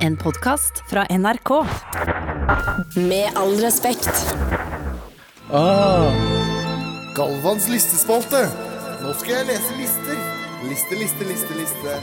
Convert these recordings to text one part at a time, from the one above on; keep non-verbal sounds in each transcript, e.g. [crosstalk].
En podkast fra NRK. Med all respekt. Galvans listespalte. Nå skal jeg lese lister. Liste, liste, liste, liste.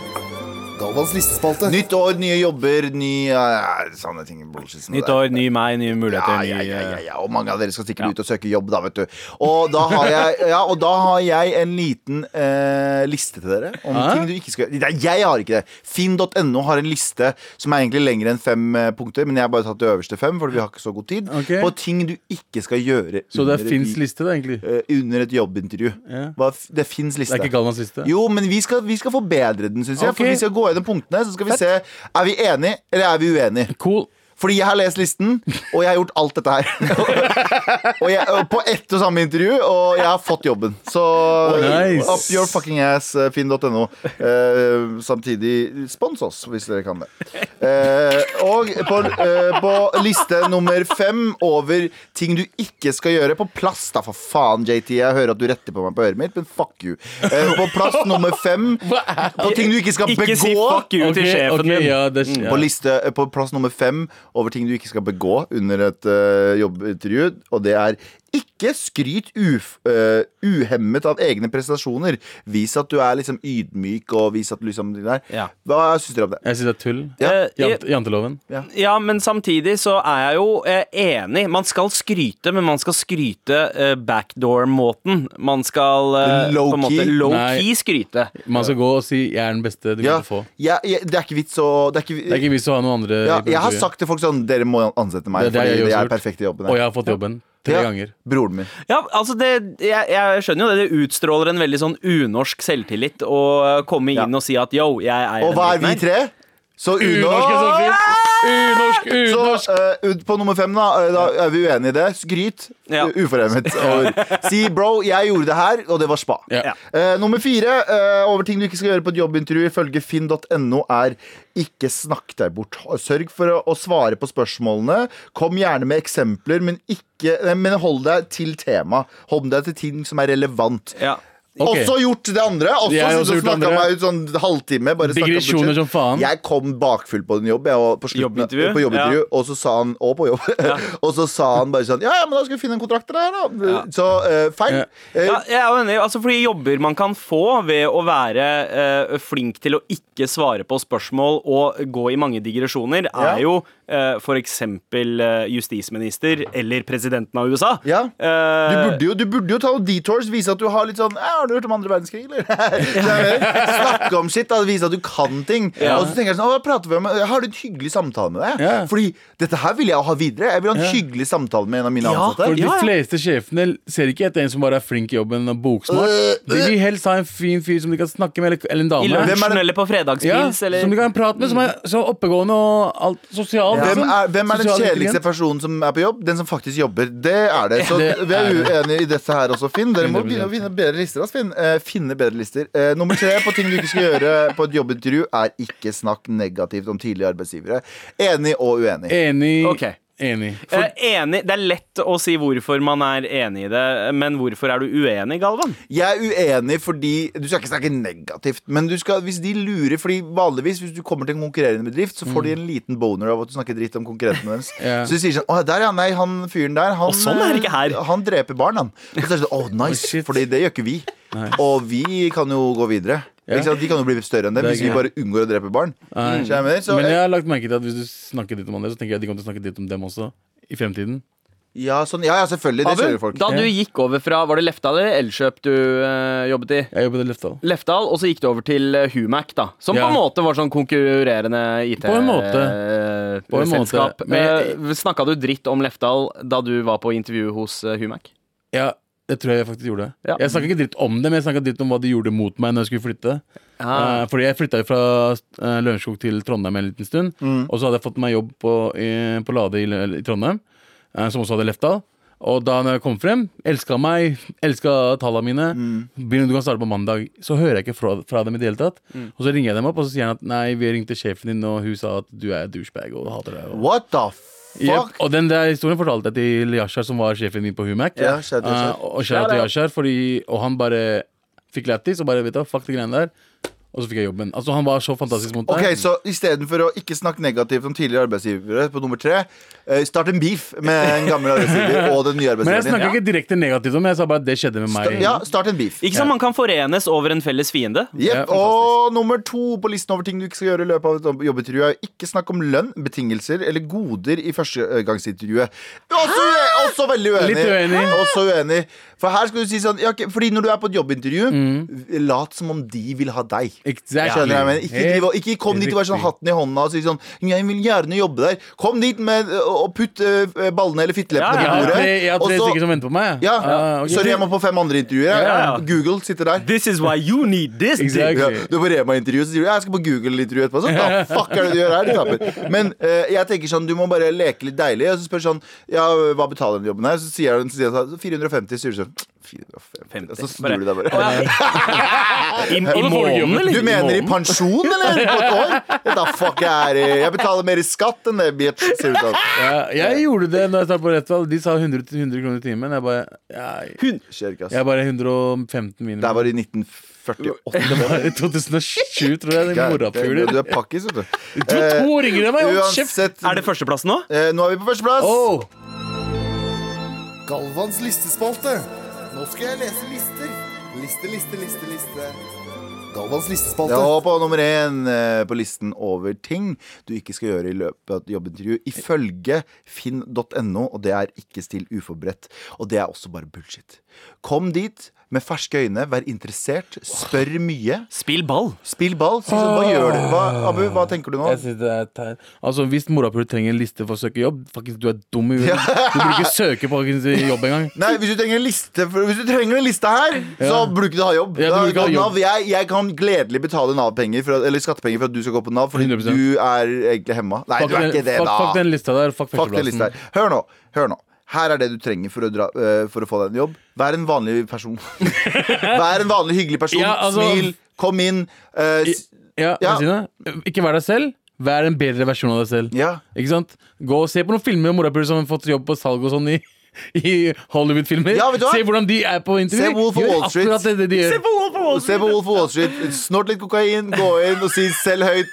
Galvans listespalte. Nytt år, nye jobber, ny eh, sånne ting. bullshit som Nytt det der. år, ny meg, nye Ja, muligheter, ja, ja, ja, ny ja. Og mange av dere skal sikkert Ja. ut og søke jobb, da, vet du. Og da har jeg, ja, og da har jeg en liten eh, liste til dere om Hæ? ting du ikke skal Nei, jeg har ikke det. Finn.no har en liste som er egentlig lengre enn fem eh, punkter, men jeg har bare tatt de øverste fem, fordi vi har ikke så god tid, Ok. på ting du ikke skal gjøre Så det under er et Finns i- liste, da, egentlig? Det eh, under et jobbintervju. Ja. Hva f- Det fins liste. er ikke Galvans liste? Jo, men vi skal, vi skal forbedre den, syns jeg. Ok. For vi skal gå gjennom punktene, så skal vi se Er vi enige, eller er vi uenige. Cool. Fordi jeg har lest listen, og jeg har gjort alt dette [laughs] her. og jeg, og på ett og samme intervju, og jeg har fått jobben. Så Nice. up your fucking ass, eh, finn.no. Eh, samtidig spons oss, hvis dere kan det. Eh, og på, eh, på liste nummer fem over ting du ikke skal gjøre På plass, da, for faen, JT. Jeg hører at du retter på meg på øret mitt, men fuck you. Eh, på plass nummer fem på ting du ikke skal Ikke begå. si fuck you til Ok, sjefen ok, din. ja, det, ja. Mm. På, liste, eh, på plass nummer fem over ting du ikke skal begå under et eh, jobbintervju, og det er ikke skryt uf, eh, uhemmet av egne prestasjoner. Vis at du er liksom ydmyk, og vis at du liksom der. Ja. Hva syns dere om det? Jeg syns det er tull. Eh, jeg- Jant, janteloven. Ja, men samtidig så er jeg jo eh, enig. Man skal skryte, men man skal skryte eh, backdoor-måten. Man skal eh, Low på en måte key? Nei. low-key skryte. Man skal gå og si 'jeg er den beste du Ja, kan få'. jeg- jeg- det er ikke vits å det er ikke, Det er ikke vits å ha noen andre. ja, i Jeg har intervjuet. sagt til folk sånn Dere må ansette meg, Det- det har fordi jeg jeg også er gjort. perfekt i jobben. her." Og jeg har fått jobben. Tre Ja, ganger. Broren min. Ja, altså det, jeg, jeg skjønner jo det. Det utstråler en veldig sånn unorsk selvtillit å eh, komme Ja. inn og si at yo, jeg er Og den hva er vi dritten her. tre? Så Unorsk er så Uno fint! Unorsk, Så unorsk! eh, ut på nummer fem, da, eh, da er vi uenige i det. Skryt. Ja. u- Uforemmet. over. Si 'bro, jeg gjorde det her', og det var spa. Ja. Ja. Eh, nummer fire eh, over ting du ikke skal gjøre på et jobbintervju ifølge finn.no er ikke snakk deg bort. Sørg for å, å svare på spørsmålene. Kom gjerne med eksempler, men, ikke, nei, men hold deg til tema. Hold deg til ting som er relevant. Ja. Ok. Også gjort det andre. Også, Jeg har også også gjort det snakka andre. meg ut sånn halvtime. Bare snakket om Digresjoner budsjett. som faen. Jeg kom bakfull på en jobb, jeg, og på, slutten, Jobbintervju? på jobbintervju og så sa han Og [laughs] på jobb. [laughs] og så sa han bare sånn Ja, ja, men da skal vi finne en kontrakt til deg, her, da. Ja. Så eh, feil. Ja. Eh, Ja, jeg er jo enig. Altså, fordi jobber man kan få ved å være eh, flink til å ikke svare på spørsmål og gå i mange digresjoner, Ja. er jo eh, for eksempel eh, justisminister eller presidenten av USA. Ja. Du Eh, burde, jo, du burde jo ta noen detours, vise at du har litt sånn «Ja, 'Har du hørt om andre verdenskrig', eller? [laughs] Så jeg vet, Snakke om sitt, da, vise at du kan ting. Ja. Og så tenker jeg sånn «Å, hva prater vi om? Jeg har en hyggelig samtale med deg. Ja. Fordi dette her vil jeg ha videre. Jeg vil ha en Ja. hyggelig samtale med en av mine Ja, ansatte. For de Ja, ja. fleste sjefene ser ikke etter en som bare er flink i jobben og boksmart. Øh, De vil helst ha en fin fyr som de kan snakke med, eller, eller en dame. I Hvem er det- lunsjen eller på fredagspils ja, eller Som du kan prate med, som er så oppegående og alt sosial. Hvem liksom. er, hvem er den Sosial kjedeligste intelligens. personen som er på jobb? Den som faktisk jobber. Det er det. Så Det vi er er det. uenige i dette her også, Finn. Dere må 100%. begynne å finne bedre lister. ass, Finn. Eh, finne bedre lister. Eh, nummer tre på ting du ikke skal gjøre på et jobbintervju, er ikke snakk negativt om tidligere arbeidsgivere. Enig og uenig. Enig. Ok. Enig. For, Eh, enig, Det er lett å si hvorfor man er enig i det, men hvorfor er du uenig, Galvan? Jeg er uenig fordi Du skal ikke snakke negativt, men du skal, hvis de lurer Fordi vanligvis hvis du kommer til en konkurrerende bedrift, så får de en liten boner av at du snakker dritt om konkurrentene deres. Mm. [laughs] Ja. Så de sier sånn Å, der, ja. Nei, han fyren der, han, Og sånn er det ikke her.» eh, han dreper barn, han. Og så er det sånn Å, nice, shit. fordi det gjør ikke vi. Og vi kan jo gå videre. Ja. Ikke sant? De kan jo bli større enn dem Det er hvis vi gøy. bare unngår å drepe barn. Nei. Skjønner jeg mener? Så, men jeg eh, har lagt merke til at hvis du snakker dritt om andre, så tenker jeg at de kommer til å snakke dritt om dem også. I fremtiden. ja, sånn, ja, ja, selvfølgelig. Det kjører folk. da du gikk over fra Var det Lefdal eller Elkjøp du eh, jobbet i? Jeg jobbet i Løftdal. Lefdal, og så gikk du over til eh, Humac, da. Som Ja. på en måte var sånn konkurrerende eh, På en måte. På en måte. IT-selskap. Men- Snakka Eh, du dritt om Lefdal da du var på intervju hos eh, Humac? Ja, det tror jeg faktisk gjorde. Ja. Jeg snakka ikke dritt om det, men jeg snakka dritt om hva de gjorde mot meg når jeg skulle flytte. Ah. Eh, fordi jeg flytta fra eh, Lørenskog til Trondheim en liten stund. Mm. Og så hadde jeg fått meg jobb på, i, på Lade i, Lø- i Trondheim, eh, som også hadde Lefdal. Og da når jeg kom frem, elska meg, elska talla mine. Mm. Begynner du kan starte på mandag. Så hører jeg ikke fra, fra dem i det hele tatt. Mm. Og så ringer jeg dem opp, og så sier han at nei, vi ringte sjefen din, og hun sa at du er douchebag og hater deg. Og What the fuck? Yep. Og den der historien fortalte jeg til Yashar, som var sjefen min på Humac. Ja, shout out Yashar. Eh, og shout out til Yashar, fordi, og han bare fikk lættis og bare vet du, hva, fuck de greiene der. og så fikk jeg jobben. Altså Han var så fantastisk mot Ok, meg. Så istedenfor å ikke snakke negativt om tidligere arbeidsgivere, på nummer tre, eh, start en beef med en gammel arbeidsgiver og den nye [laughs] Men jeg arbeidsgiveren snakka din. ikke direkte negativt om det, jeg sa bare at det skjedde med meg. Sta- Ja, start en beef. Ikke sant, Man kan forenes over en felles fiende. Jepp, Ja, og nummer to på listen over ting du ikke skal gjøre i løpet av et jobbetrue, er ikke snakk om lønn, betingelser eller goder i førstegangsintervjuet. Også, ue- også veldig uenig. Ah! Litt uenig. Hæ? Også uenig. For her skal du si sånn ja, ok, Fordi når du er på et jobbintervju, Mm. lat som om de vil ha deg. Exactly. Skjønner jeg, men ikke, driv og- ikke kom dit og vær sånn hatten i hånda og si sånn 'Jeg vil gjerne jobbe der'. Kom dit med, eh, og putt øh, ballene eller fitteleppene Ja, ja, på Jeg har bordet. tre, jeg har og tre så- stykker som venter på meg. ja, Ah, ok. Sorry, jeg må på fem andre intervjuer. jeg. Ja, ja. Google sitter der. This is why you need this. dick. Exactly. Ja, du er på Rema-intervju, så sier du 'jeg skal på Google-intervju etterpå'. Så hva fuck er det du gjør her, du taper? Men eh, jeg tenker sånn, du må bare leke litt deilig, og så spør sånn 'ja, hva betaler den jobben her?' Så sier han så sier han sånn 450, så sier du sånn 450 Og så snur du deg bare. [laughs] I, i du får ikke måneden, jobben. eller? Du mener i pensjon, eller? På et år? Ja, Da fuck jeg er i Jeg betaler mer i skatt enn det, bitch, sier du sånn. Ja, jeg gjorde det da jeg startet på Rettdal. De sa 100-100 kroner i timen. Jeg bare jeg, Skjer ikke, jeg ass. bare 115 minimum. Der var det i 1948. Det var i 2007, tror jeg. Den morapuler. Du er pakkis, vet du. To, to ringer det meg! Hold kjeft! Eh, Uansett, Er det førsteplassen nå? eh, nå er vi på førsteplass. Oh, Galvans listespalte. Nå skal jeg lese lister. Liste, liste, liste, liste. Galvans listespalte. Ja, og på nummer én eh, på listen over ting du ikke skal gjøre i løpet av et jobbintervju, ifølge finn.no, og det er ikke still uforberedt. Og det er også bare bullshit. Kom dit med ferske øyne, vær interessert, spør mye. Spill ball. Spill ball. Si sånn, hva gjør du? Hva, Abu, hva tenker du nå? jeg synes det er teit. Altså, Hvis morapuler trenger en liste for å søke jobb, faktisk, du er dum i huet. Du burde ikke søke på faktisk, eh, jobb engang. Nei, hvis du trenger en liste for, Hvis du trenger en liste her, så burde du ikke ha jobb. Ja, du Da- burde ikke ha da- jobb. NAV, jeg, jeg kan gledelig betale Nav-penger for at- Eller skattepenger for at du skal gå på Nav, fordi 100%. du er egentlig hemma. Nei, Fuck du er den- ikke det, fuck, da. fuck den lista der. Fuck Fuck den lista førsteplassen. her. Hør nå. hør nå her er det du trenger for å, dra, eh, for å få deg en jobb. Vær en vanlig person. [laughs] Vær en vanlig hyggelig person. Ja, altså- Smil, kom inn. eh, s- Ja, Ja. hva sier du? Ikke vær deg selv. Vær en bedre versjon av deg selv. ja. Ikke sant? Gå og se på noen filmer om morapuler som har fått jobb på salg og sånn i, [laughs] i Hollywood-filmer. Ja, vet du hva? se hvordan de er på intervju. Se Wolf of Gjør Wall Street. Akkurat det de gjør. Se på Wolf of Wall Street. Snort litt kokain, gå inn og si selv høyt,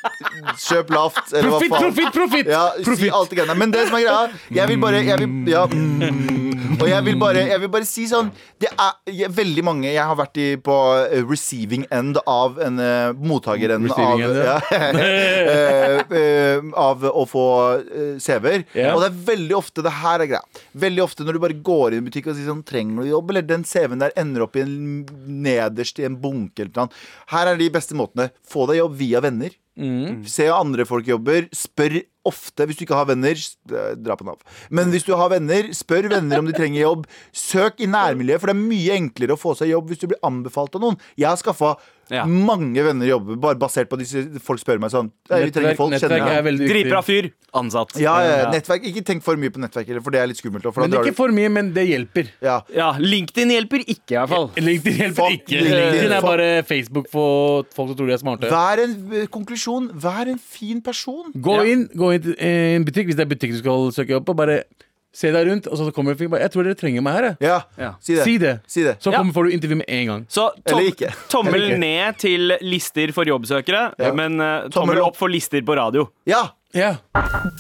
kjøp lavt. Eller hva Profitt, faen. profitt, profitt! Ja, si Profitt. alt det greiene. Men det som er greia, jeg vil bare jeg vil, ja, mm, Og jeg vil bare, jeg vil bare si sånn Det er jeg, veldig mange Jeg har vært i, på eh, receiving end av en eh, mottakeren av, Receiving end, ja. [laughs] eh, eh, av å få eh, CV-er. Ja. Og det er veldig ofte det her er greia. Veldig ofte når du bare går inn i butikk og sier sånn Trenger du jobb? Eller den CV-en der ender opp i en, nederst i en bunke eller noe. annet. Her er de beste måtene. Få deg jobb via venner. Mm. Se hva Mm. andre folk jobber. Spør ofte hvis du ikke har venner. s- eh, Dra på Nav. Men hvis du har venner, spør venner om de trenger jobb. Søk i nærmiljøet, for det er mye enklere å få seg jobb hvis du blir anbefalt av noen. Jeg har skaffa Ja. mange venner jobber bare basert på disse folk spør meg sånn. «Nei, Vi trenger Nettverk, folk, kjenner nettverk er jeg. veldig Dritbra viktig. fyr. Ansatt. Ja, ja, ja. nettverk. Ikke tenk for mye på nettverk, heller, for det er litt skummelt. For da Men drar ikke du- for mye, men det hjelper. ja. Ja, LinkedIn hjelper ikke, i hvert fall. LinkedIn hjelper Fuck ikke. LinkedIn. LinkedIn er Fuck. bare Facebook for folk som tror de er smarte. Vær en eh, konklusjon. Vær en fin person. Gå inn, gå inn til eh, en butikk hvis det er butikk du skal søke opp på. Bare se deg rundt, og så kommer det en fyr. bare, Jeg tror dere trenger meg her. jeg». Ja, si det. Si det. Si det. Så Ja. kommer, får du intervju med en gang. Så tom Eller ikke. tommel Eller ikke. ned til lister for jobbsøkere, men eh, tommel, Tommel opp. opp for lister på radio. Ja. Ja.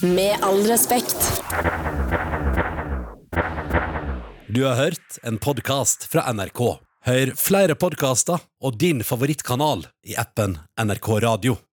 Med all respekt. Du har hørt en podkast fra NRK. Hør flere podkaster og din favorittkanal i appen NRK Radio.